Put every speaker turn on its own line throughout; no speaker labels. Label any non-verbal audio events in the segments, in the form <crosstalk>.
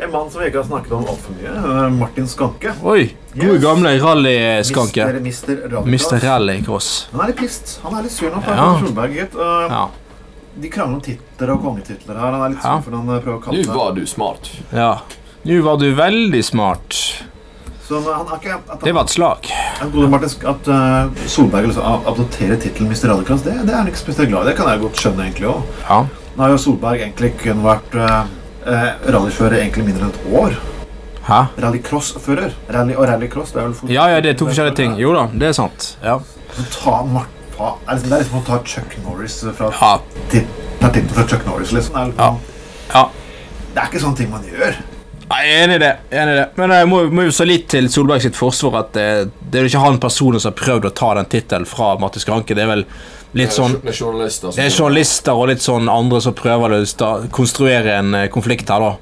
en mann som vi ikke har snakket om altfor mye. eh, Martin Skanke.
Oi! Gode
Yes.
gamle
Mister,
rallyskanke.
mister Radicals.
Mr. Rallycross.
Han er litt pissed. Han er litt sur nå. på
Ja.
Erna Solberg, gitt. Eh,
Ja.
De krangler om titler og kongetitler her. Han er litt
Ja.
sur for han eh, prøver å
Nå
kalle det.
var du smart.
ja. Nå var du veldig smart.
Så han, han er ikke, at,
Det var et slag.
at, gode Martin, Sk- at eh, Solberg liksom, ab- adopterer tittelen Mr. Radicals, det, det er han ikke spesielt glad i. Det kan jeg godt skjønne, egentlig òg.
Ja.
Nå har jo Solberg egentlig kun vært uh, rallyfører egentlig mindre enn et år.
Hæ?
Rallycross-fører. Rally og rallycross, det er vel fort-
Ja, ja, det er to forskjellige ting. Jo da, det er sant. Ja.
Så Ta Mar- ta- er liksom- Det er liksom å ta Chuck Norris fra
Ja.
til- ta tittelen fra Chuck Norris, liksom. Det er,
Ja.
liksom
ja.
det er ikke sånne ting man gjør.
Nei, Jeg er enig i det. jeg er enig i det. Men jeg må, må jo så litt til Solberg sitt forsvar at det, det er jo ikke han personen som har prøvd å ta den tittelen fra Matti Skranke. Det er vel
Eh,
litt sånn
Det er journalister. som-
Det er journalister og litt sånn andre som prøver å sta- konstruere en eh, konflikt her, da.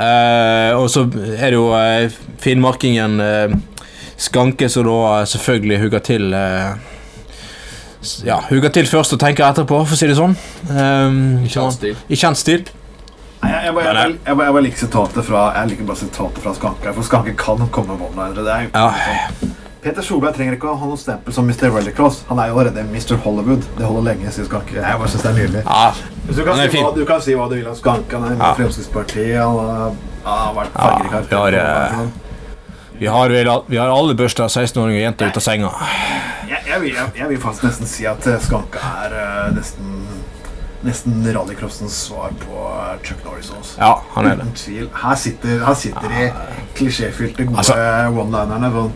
Eh, og så er det jo eh, finnmarkingen eh, Skanke som da eh, selvfølgelig hugger til eh, s- Ja, hugger til først og tenker etterpå, for å si det sånn. Eh,
I kjent stil.
I kjent stil.
Nei, jeg, jeg, bare- jeg,
Nei, nei.
bare- jeg, bare- jeg bare liker sitatet fra Jeg liker bare sitatet fra Skanke, for Skanke kan komme med one-linere. Det er jo
Ja.
Peter Solberg trenger ikke å ha noe stempel som Mr. Rallycross. Han er jo allerede Mr. Hollywood. Det holder lenge, sier Skanke. Jeg bare synes det er nydelig.
ja.
Hvis du, kan
Han er
si
fin.
hva, du kan si hva du vil om Skanke. Han er med i Fremskrittspartiet. Han har- han har vært fargerik
Ja, vi har,
karakter.
Vi har, vel al- vi har alle børsta 16-åringer og jenter ut av senga.
Jeg, jeg, vil- jeg, jeg vil faktisk nesten si at eh, Skanke er eh, nesten, nesten rallycrossens svar på eh, Chuck Norris. Også.
Ja, han er det. Ah.
Uten tvil. Her sitter, her sitter de klisjéfylte, gode
Altså-
one-linerne. Sånn.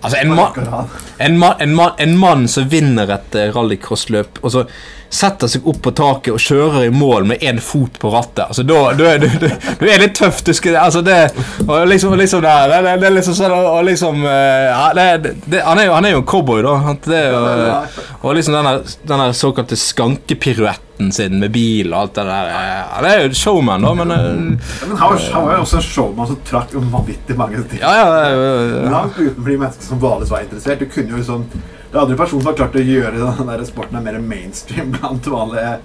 Altså, en mann En, ma en, ma en mann som vinner et eh, rallycrossløp og så setter seg opp på taket og kjører i mål med én fot på rattet. Altså, da, da er du, du, du er litt tøff. Du skal, altså, det, og liksom, og liksom det, det, det, det er liksom sånn og liksom, eh, ja, det, det, han, er jo, han er jo en cowboy, da. Han- Det er jo, eh, og liksom denne, denne såkalte skankepiruetten sin med bil og alt det der. eh, Han er jo showman, da, men eh,
Men han var, han var jo også en showman som trakk jo vanvittig mange ting.
Ja, ja. eh,
Langt utenfor de menneskene som vanligvis var interessert. Du kunne jo liksom, det andre personen som har klart å gjøre den der sporten er mer mainstream blant vanlige,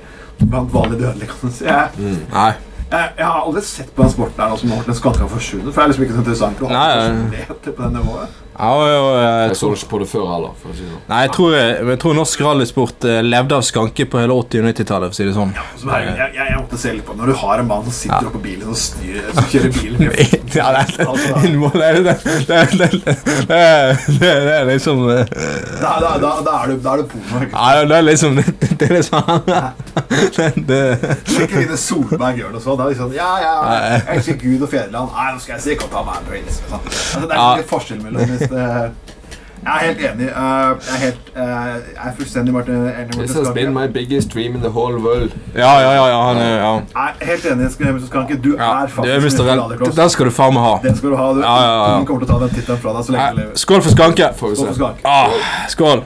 blant vanlige dødelige. kan du si. Jeg,
Nei.
jeg, jeg har aldri sett på den sporten her nå som har vært en skanka forsvunnet. For det er liksom ikke så interessant å ha
Nei,
personligheter på det nivået.
Han var jo eh,
Jeg så ikke på det før heller. for å si det sånn.
Nei, jeg tror, eh, jeg tror norsk rallysport eh, levde av skanke på hele 80- og 90-tallet, for å si det sånn.
Som er, jeg, jeg, jeg måtte se litt på det. Når du har en mann som sitter oppå bilen og styrer, som kjører bilen med
Ja, det, er-
altså,
<laughs> innmål, det, er- det, er- det, er- det, er- det er liksom eh,
da, da, da, da, er du, da er du porno. ikke sant?
Nei, det er liksom <laughs> Det er liksom det, <laughs> det,
Ikke Line Solberg gjør noe sånt. Da er det sånn, ja, ja, jeg elsker Gud og fedreland. Nei, nå skal jeg si ikke å ta meg en pris. liksom. Altså, det er
Ja.
ikke forskjell mellom hvis det Jeg er helt enig. eh, jeg er helt eh, Jeg er fullstendig Martin enig med
This has
Skanke.
been my biggest dream in the whole world.
Ja, ja, ja. ja, han, er- ja.
Jeg er helt enig med Martin Skanke. Du
ja.
er
Du
faktisk
er Mr.
Mr.
Rall.
Rallycross.
Den skal du faen meg ha.
Den skal du ha. Du
Ja, ja, ja.
Ingen kommer til å ta den tittelen fra deg så lenge du
Nei,
lever.
Skål for skanke.
Får vi
Stå for
se.
Skanke.
Ah, skål.